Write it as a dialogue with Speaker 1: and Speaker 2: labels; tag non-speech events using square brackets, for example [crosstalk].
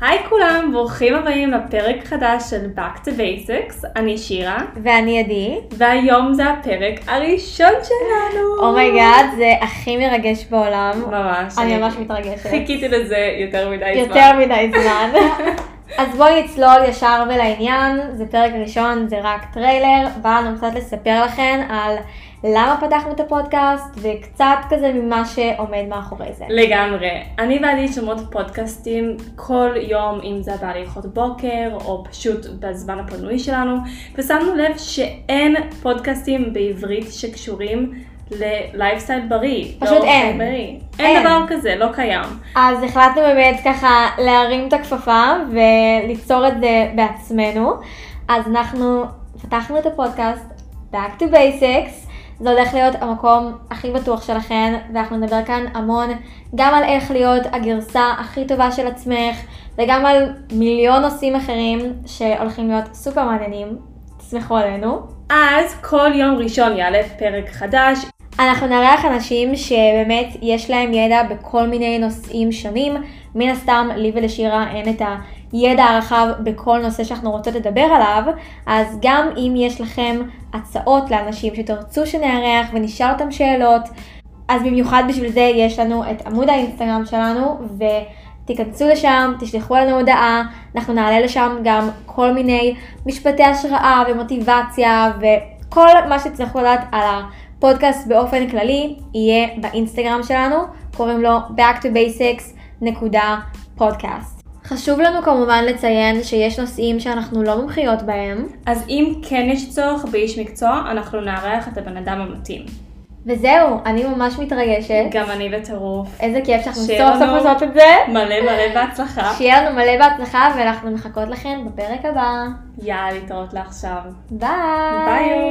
Speaker 1: היי כולם, ברוכים הבאים לפרק חדש של Back to Basics, אני שירה,
Speaker 2: ואני עדי.
Speaker 1: והיום זה הפרק הראשון שלנו.
Speaker 2: אומייגאד, זה הכי מרגש בעולם.
Speaker 1: ממש.
Speaker 2: Oh אני ממש מתרגשת.
Speaker 1: חיכיתי לזה יותר מדי זמן.
Speaker 2: יותר מדי זמן.
Speaker 1: [laughs]
Speaker 2: אז בואי נצלול ישר ולעניין, זה פרק ראשון, זה רק טריילר, בא לנו קצת לספר לכם על למה פתחנו את הפודקאסט, וקצת כזה ממה שעומד מאחורי זה.
Speaker 1: לגמרי. אני ועדי שומעות פודקאסטים כל יום, אם זה בהליכות בוקר, או פשוט בזמן הפנוי שלנו, ושמנו לב שאין פודקאסטים בעברית שקשורים ללייפסטייל בריא.
Speaker 2: פשוט
Speaker 1: לאורח
Speaker 2: אין.
Speaker 1: בריא. אין. אין
Speaker 2: אין.
Speaker 1: דבר כזה, לא קיים.
Speaker 2: אז החלטנו באמת ככה להרים את הכפפה וליצור את זה בעצמנו. אז אנחנו פתחנו את הפודקאסט Back to Basics. זה הולך להיות המקום הכי בטוח שלכן, ואנחנו נדבר כאן המון גם על איך להיות הגרסה הכי טובה של עצמך, וגם על מיליון נושאים אחרים שהולכים להיות סופר מעניינים. תסמכו עלינו.
Speaker 1: אז כל יום ראשון יעלה פרק חדש.
Speaker 2: אנחנו נארח אנשים שבאמת יש להם ידע בכל מיני נושאים שונים. מן הסתם, לי ולשירה אין את הידע הרחב בכל נושא שאנחנו רוצות לדבר עליו, אז גם אם יש לכם הצעות לאנשים שתרצו שנארח ונשאל אותם שאלות, אז במיוחד בשביל זה יש לנו את עמוד האינסטגרם שלנו, ותיכנסו לשם, תשלחו לנו הודעה, אנחנו נעלה לשם גם כל מיני משפטי השראה ומוטיבציה וכל מה שצריכו לדעת על הפודקאסט באופן כללי יהיה באינסטגרם שלנו, קוראים לו back to basics נקודה פודקאסט. חשוב לנו כמובן לציין שיש נושאים שאנחנו לא מומחיות בהם,
Speaker 1: אז אם כן יש צורך באיש מקצוע, אנחנו נארח את הבן אדם המתאים.
Speaker 2: וזהו, אני ממש מתרגשת.
Speaker 1: גם אני בטירוף.
Speaker 2: איזה כיף שאנחנו
Speaker 1: שיהיה
Speaker 2: סוף סוף
Speaker 1: לנו-
Speaker 2: עושות את זה.
Speaker 1: מלא מלא בהצלחה.
Speaker 2: שיהיה לנו מלא בהצלחה, ואנחנו מחכות לכם בפרק הבא.
Speaker 1: יאללה, להתראות לעכשיו.
Speaker 2: ביי!
Speaker 1: ביי!